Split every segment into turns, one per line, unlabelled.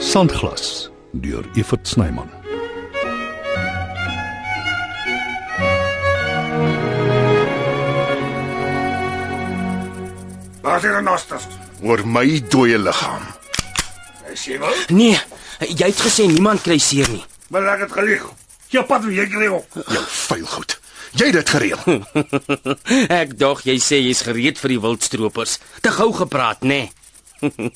Sandglas deur Evert Snyman.
Waar is Renosters?
oor my dooie liggaam.
Is jy wel?
Nee, jy het gesê niemand kry seer nie.
Maar ek het gelieg. Jy pad wie jy kry op.
Jou vuil goed. Jy het dit gereël.
Ek dog jy sê jy's gereed vir die wildstroopers. Te gou gepraat, nê? Nee.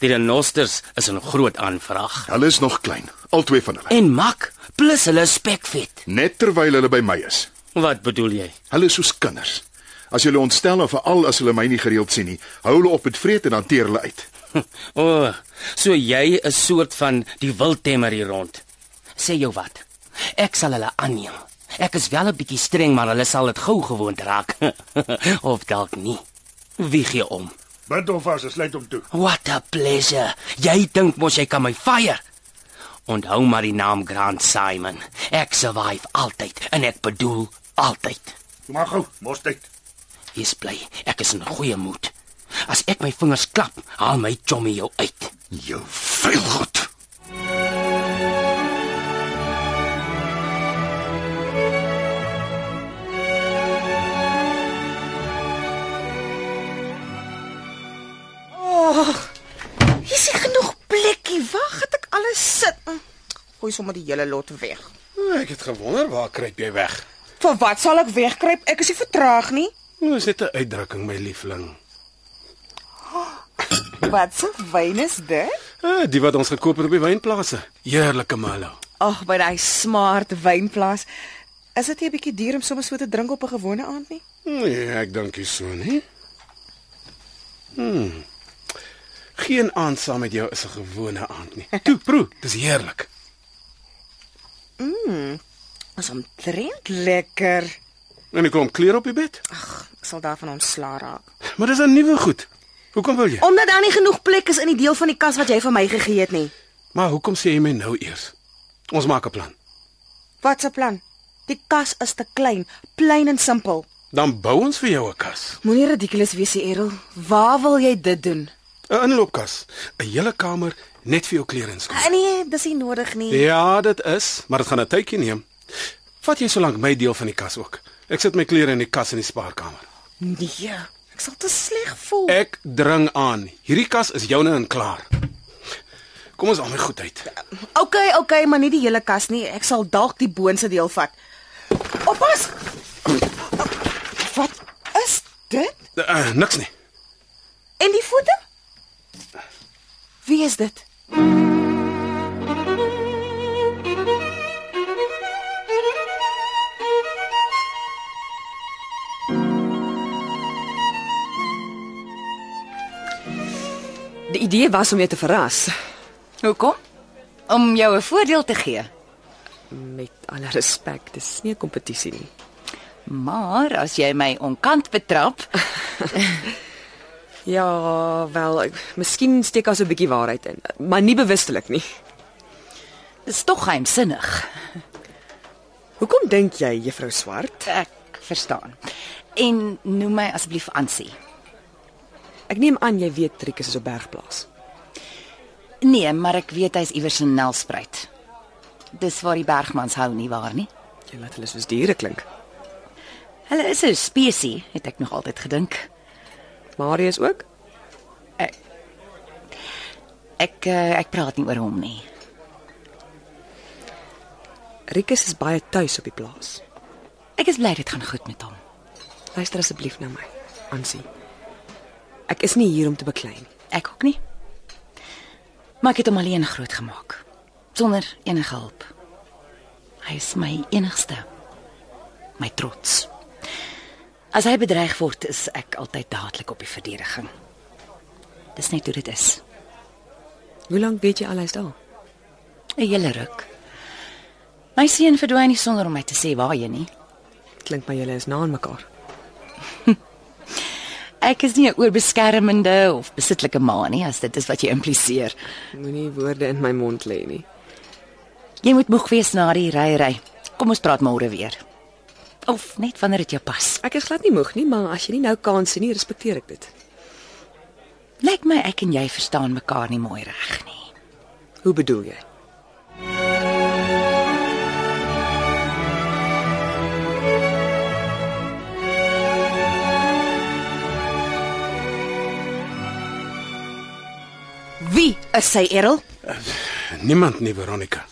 die renosters is 'n groot aanvraag.
Hulle is nog klein, albei van hulle.
En mak, plus hulle is spekvet.
Net terwyl hulle by my is.
Wat bedoel jy?
Hulle is soos kinders. As jy hulle ontstel of veral as hulle my nie gereeld sien nie, hou hulle op met vreet en hanteer hulle uit.
O, oh, so jy is soort van die wildtemmer hier rond. Sê jou wat? Ek sal hulle aanneem. Ek is wel 'n bietjie streng, maar hulle sal dit gou gewoond raak. of dalk nie. Wie gee om?
Bind hom vas en sluit hom toe.
What a pleasure. Jy dink mos jy kan my fire. Onthou maar die naam Grant Simon. Ek survive altyd en ek bedoel altyd.
Jy mag gou, mos tyd.
Wees bly. Ek is in goeie moed. As ek my vingers klap, haal my chommy jou uit.
Jou vuil goed.
Oh, Hier is nie genoeg plekkie. Wag, het ek alles sit. Mm, Gooi sommer die hele lot weg.
Ek het gewonder waar kruip jy weg?
Vir wat sal ek wegkruip? Ek is nie vertraag nie.
Nou is dit 'n uitdrukking, my liefling.
Oh, Wat se wyn is dit?
Ah, die wat ons gekoop het op die wynplase. Heerlike malo.
Ag, by daai smart wynplaas. Is dit nie 'n bietjie duur om sommer so te drink op 'n gewone aand nie?
Nee, ek dink nie so nie. Hmm. Geen aand saam met jou is 'n gewone aand nie. Toe, proe, dis heerlik.
Ons omtrent lekker.
En ek kom kleur op die bed.
Ag, ek sal daarvan ontslaa raak.
Maar dis 'n nuwe goed. Hoekom wil jy?
Omdat daar nie genoeg plek is in die deel van die kas wat jy vir my gegee het nie.
Maar hoekom sê jy my nou eers? Ons maak 'n plan.
Wat se plan? Die kas is te klein, plain en simpel.
Dan bou ons vir jou 'n kas,
Moenie ridiculous wees, Errol. Waar wil jy dit doen?
'n inloopkas, 'n hele kamer net vir jou klere en
Ah,
skoene.
Nee, dis nie nodig nie.
Ja, dit is, maar dit gaan 'n tydjie neem. Vat jy solank my deel van die kas ook. Ek sit my klere in die kas in die spaarkamer.
Nee, ek sal te sleg voel.
Ek dring aan. Hierdie kas is joune en klaar. Kom ons al my goed uit.
OK, OK, maar nie die hele kas nie. Ek sal dalk die boonste deel vat. Oppas. Wat is dit?
Uh, uh, niks nie.
En die voete? Wie is dit?
Die idee was om jou te verras
Hoekom? Om jou 'n voordeel te gee.
met alle respek. Dis nie 'n kompetisie nie.
Maar as jy my onkant betrap,
Ja, wel, ek, miskien steek daar so 'n bietjie waarheid in, maar nie bewustelik nie.
dis tog geheimsinnig.
Hoekom dink jy, Juffrou Swart?
Ek verstaan. En noem my asseblief Ansie.
Ek neem aan jy weet Trikus is op Bergplaas.
Nee, maar ek weet hy's iewers in Nelspruit. Dis waar die Bergmans hou nie waar nie.
Jy laat hulle soos diere klink.
Hulle is 'n spesies, het ek nog altyd gedink.
Marius ook?
Ek eh, ek praat nie oor hom nie.
Rikus is baie tuis op die plaas.
Ek is bly dit gaan goed met hom.
Luister asseblief na my, Ansie. Ek is nie hier om te beklei nie.
Ek ook nie. Maar ek het hom alleen grootgemaak sonder enige hulp. Hy is my enigste. My trots. As hy bedreig word, is ek altyd dadelik op die verdediging. Dis net hoe dit is.
Hoe lank weet jy al hy's daar?
'n Hele ruk. My seun verdwyn nie sonder om my te sê waarheen nie.
Klink my julle is na aan mekaar.
Ek is nie 'n oorbeskermende of besitlike ma nie, as dit is wat jy impliseer.
Moenie woorde in my mond lê nie.
Jy moet moeg wees na die ry ry. Kom ons praat môre weer. Of net wanneer dit jou pas.
Ek is glad nie moeg nie, maar as jy nie nou kans sien nie, respekteer ek dit.
Lyk my ek en jy verstaan mekaar nie mooi reg nie.
Hoe bedoel jy?
Wie is sy Errol?
Niemand nie, Veronica.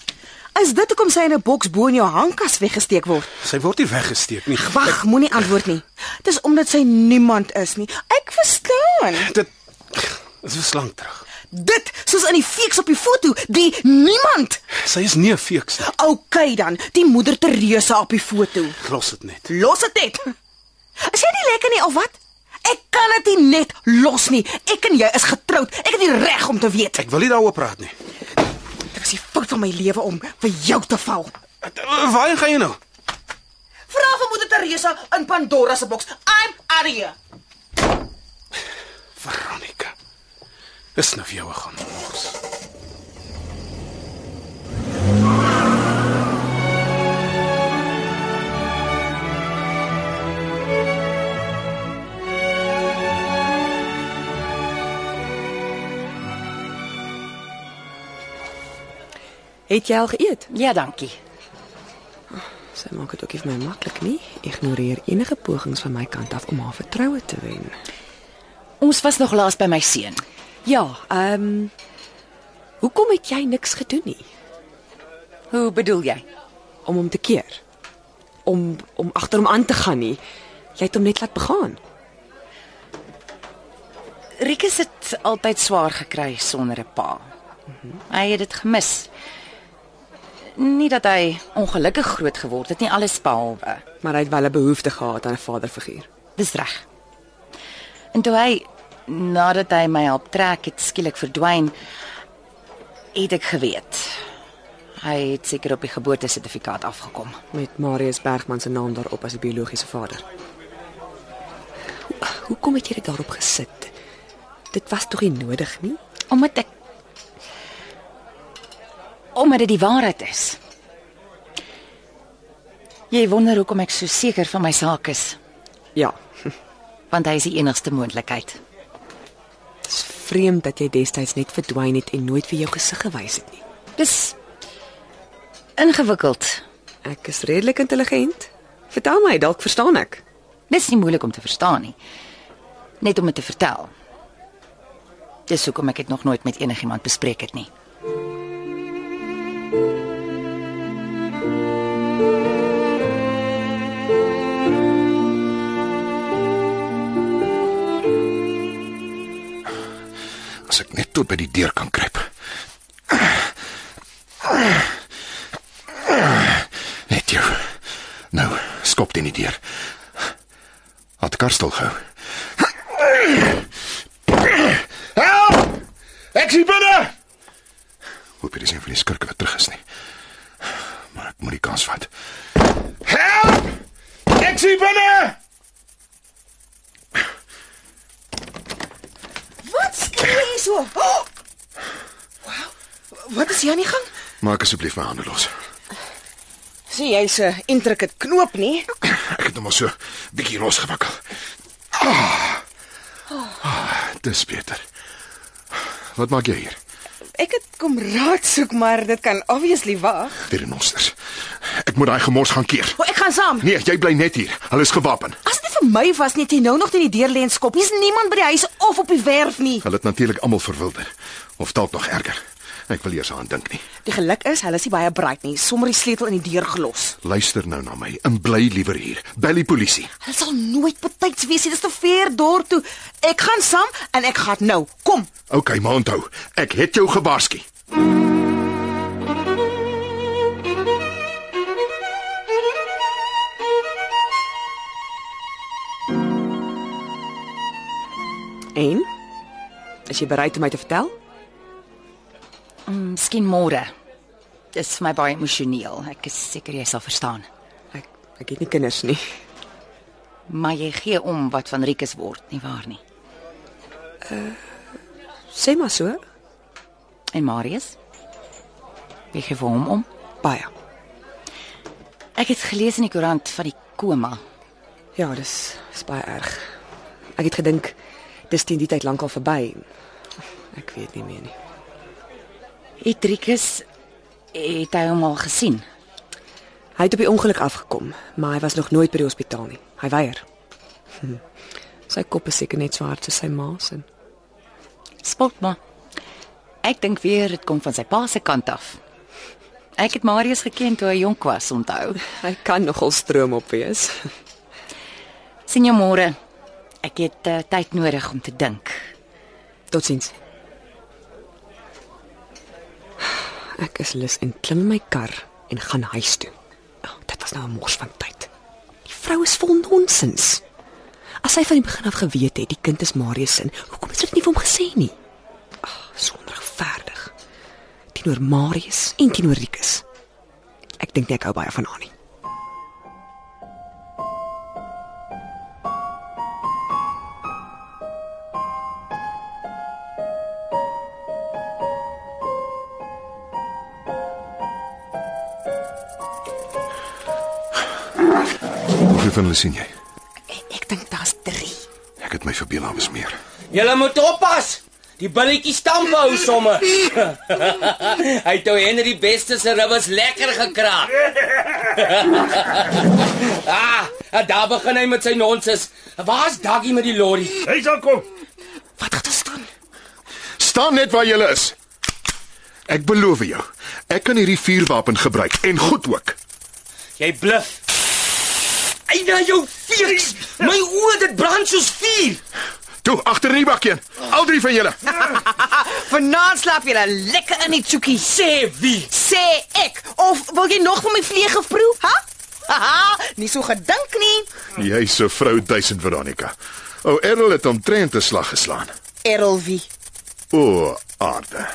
Is dit hoekom sy in 'n boks bo in jou hangkas weggesteek word?
Sy word nie weggesteek nie.
Wag, moenie antwoord nie. Dis omdat sy niemand is nie. Ek verstaan.
Dit is so lank terug.
Dit soos in die feeks op die foto, die niemand.
Sy is nie 'n feeks nie.
OK dan, die moeder Teresa op die foto.
Los dit net.
Los dit net. Is jy nie lekker nie of wat? Ek kan dit nie net los nie. Ek en jy is getroud. Ek het die reg om te weet.
Ek wil nie daaroor praat nie.
Dit is die fout van my lewe om vir jou te val.
Waar gaan jy nou?
Vra vir moeder Teresa in Pandora se boks. I'm Aria.
Veronica. Dis nou vir jou gaan mors.
Het jy al geëet?
Ja, dankie.
Sy maak dit ook nie vir my maklik nie. Ignoreer enige pogings van my kant af om haar vertroue te wen.
Ons was nog laas by my seun.
Ja, ehm um, Hoekom het jy niks gedoen nie
Hoe bedoel jy?
om hom te keer? Om om agter hom aan te gaan nie. Jy het hom net laat begaan.
Rikus het altyd swaar gekry sonder 'n pa. Mhm. Hy het dit gemis. Nie dat hy ongelukkig groot geword het nie, alles behalwe.
Maar hy het wel 'n behoefte gehad aan 'n vaderfiguur.
Dis reg. En toe hy nadat hy my help trek het skielik verdwyn, het ek geweet. Hy het seker op die geboortesertifikaat afgekom.
Met Marius Bergman se naam daarop as die biologiese vader. Ho hoekom het jy dit daarop gesit? Dit was tog nie nodig nie.
Omdat ek omdat dit die waarheid is. Jy wonder hoekom ek so seker van my saak is,
Ja,
want hy is die enigste moontlikheid.
dit is vreemd dat jy destyds net verdwyn het en nooit vir jou gesig gewys het nie.
Dis ingewikkeld.
Ek is redelik intelligent. Vertel my, dalk verstaan ek.
Dis nie moeilik om te verstaan nie. Net om dit te vertel. Dis hoekom ek dit nog nooit met enigiemand bespreek het nie.
As ek net tot by die deur kan kruip. Net jou. Nou, skop dit in die deur. Hat karstel gou. Help! Ek sien binne. Hoop hier is nie van die skurke wat terug is nie. Maar ek moet die kans vat. Help! Ek sien binne.
Wat skree jy so? Oh! Wow. Wat is hier aan die gang?
Maak asseblief my hande los.
Sien jy's 'n eh, intricate knoop nie?
Ek het hom al so bietjie losgewikkel. Ah. ah. Dis beter. Wat maak jy hier?
Ek het kom raad soek, maar dit kan obviously wag.
Weer in ons. Ek moet daai gemors gaan keer.
Oh, ek gaan saam.
Nee, jy bly net hier. Hulle is gewapen.
As dit nie vir my was nie, het jy nou nog nie die deur lê en skop. Hier's niemand by die huis of op die werf nie.
Hulle het natuurlik almal verwilder of dalk nog erger. Ek wil eers aan dink nie.
Die geluk is, hulle is nie baie braait nie. Sommer die sleutel in die deur gelos.
Luister nou na my. En bly liewer hier. Bel die polisie.
Hulle sal nooit betyds wees nie. Dis te ver dor toe. Ek gaan saam en ek gaan nou. Kom.
OK, maar onthou, ek het jou gewaarsku.
En is jy bereid om my te vertel?
Mm, Miskien môre. Dis vir my baie emosioneel. Ek is seker jy sal verstaan.
Ek ek het nie kinders nie.
Maar jy gee om wat van Rikus word, nie waar nie?
Eh, Sê maar so,
En Marius? Jy gee vir hom om.
baie.
Ek het gelees in die koerant van die koma.
Ja, dis is baie erg. Ek het gedink dis teen die tyd lankal verby. Ek weet nie meer nie.
Etrikus het hy hom al gesien.
Hy het op die ongeluk afgekom, maar hy was nog nooit by die hospitaal nie. Hy weier. Hm. Sy kop is seker net swaar soos sy ma se.
Spot maar. Ek dink weer dit kom van sy pa se kant af. Ek het Marius geken toe hy jonk was, onthou.
Hy kan nogal stroom op wees.
Sien jou môre. Ek het uh, tyd nodig om te dink.
Totsiens. Ek is lus en klim in my kar en gaan huis toe. Oh, dit was nou 'n mors van tyd. Die vrou is vol nonsens. As sy van die begin af geweet het die kind is Marius se, hoekom het sy dit nie vir hom gesê nie? Ag, oh, so onregverdig. Teenoor Marius en teenoor Rikus. Ek dink nie ek hou baie van haar nie.
Hoeveel van hulle sien jy?
Ek dink daar's 3.
Ek het my verbeel daar was meer.
Julle moet oppas. Die billetjie stamp hou sommer. Hy het ou Henry Beste se ribbes lekker gekraak. ah, en daar begin hy met sy nonsens. Waar's Daggie met die lorry?
Hy sal kom.
Wat gaan ons doen?
Staan net waar jy is. Ek beloof jou, ek kan hierdie vuurwapen gebruik en goed ook.
Jy bluf. Eina jou feeks. My oë dit brand soos vuur.
Toe agter in die bakkie. Al drie van julle.
Ah, Vanaand slaap jy lekker in die tsoekie,
Sê wie?
sê ek. Of wil jy nog van my vliege proef, ha? Haha, nie so gedink nie.
Jy's 'n vrou duisend Veronica. Ou Errol het omtrent 'n slag geslaan.
Errol wie?
O, aarde.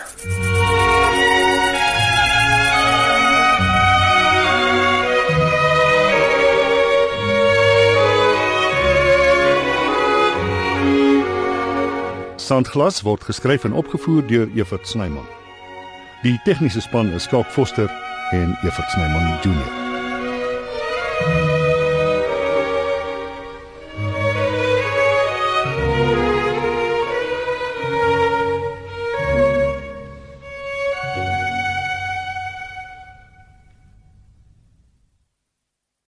Sandglas word geskryf en opgevoer deur Evert Snyman. Die tegniese span is Skalk Foster en Evert Snyman Junior.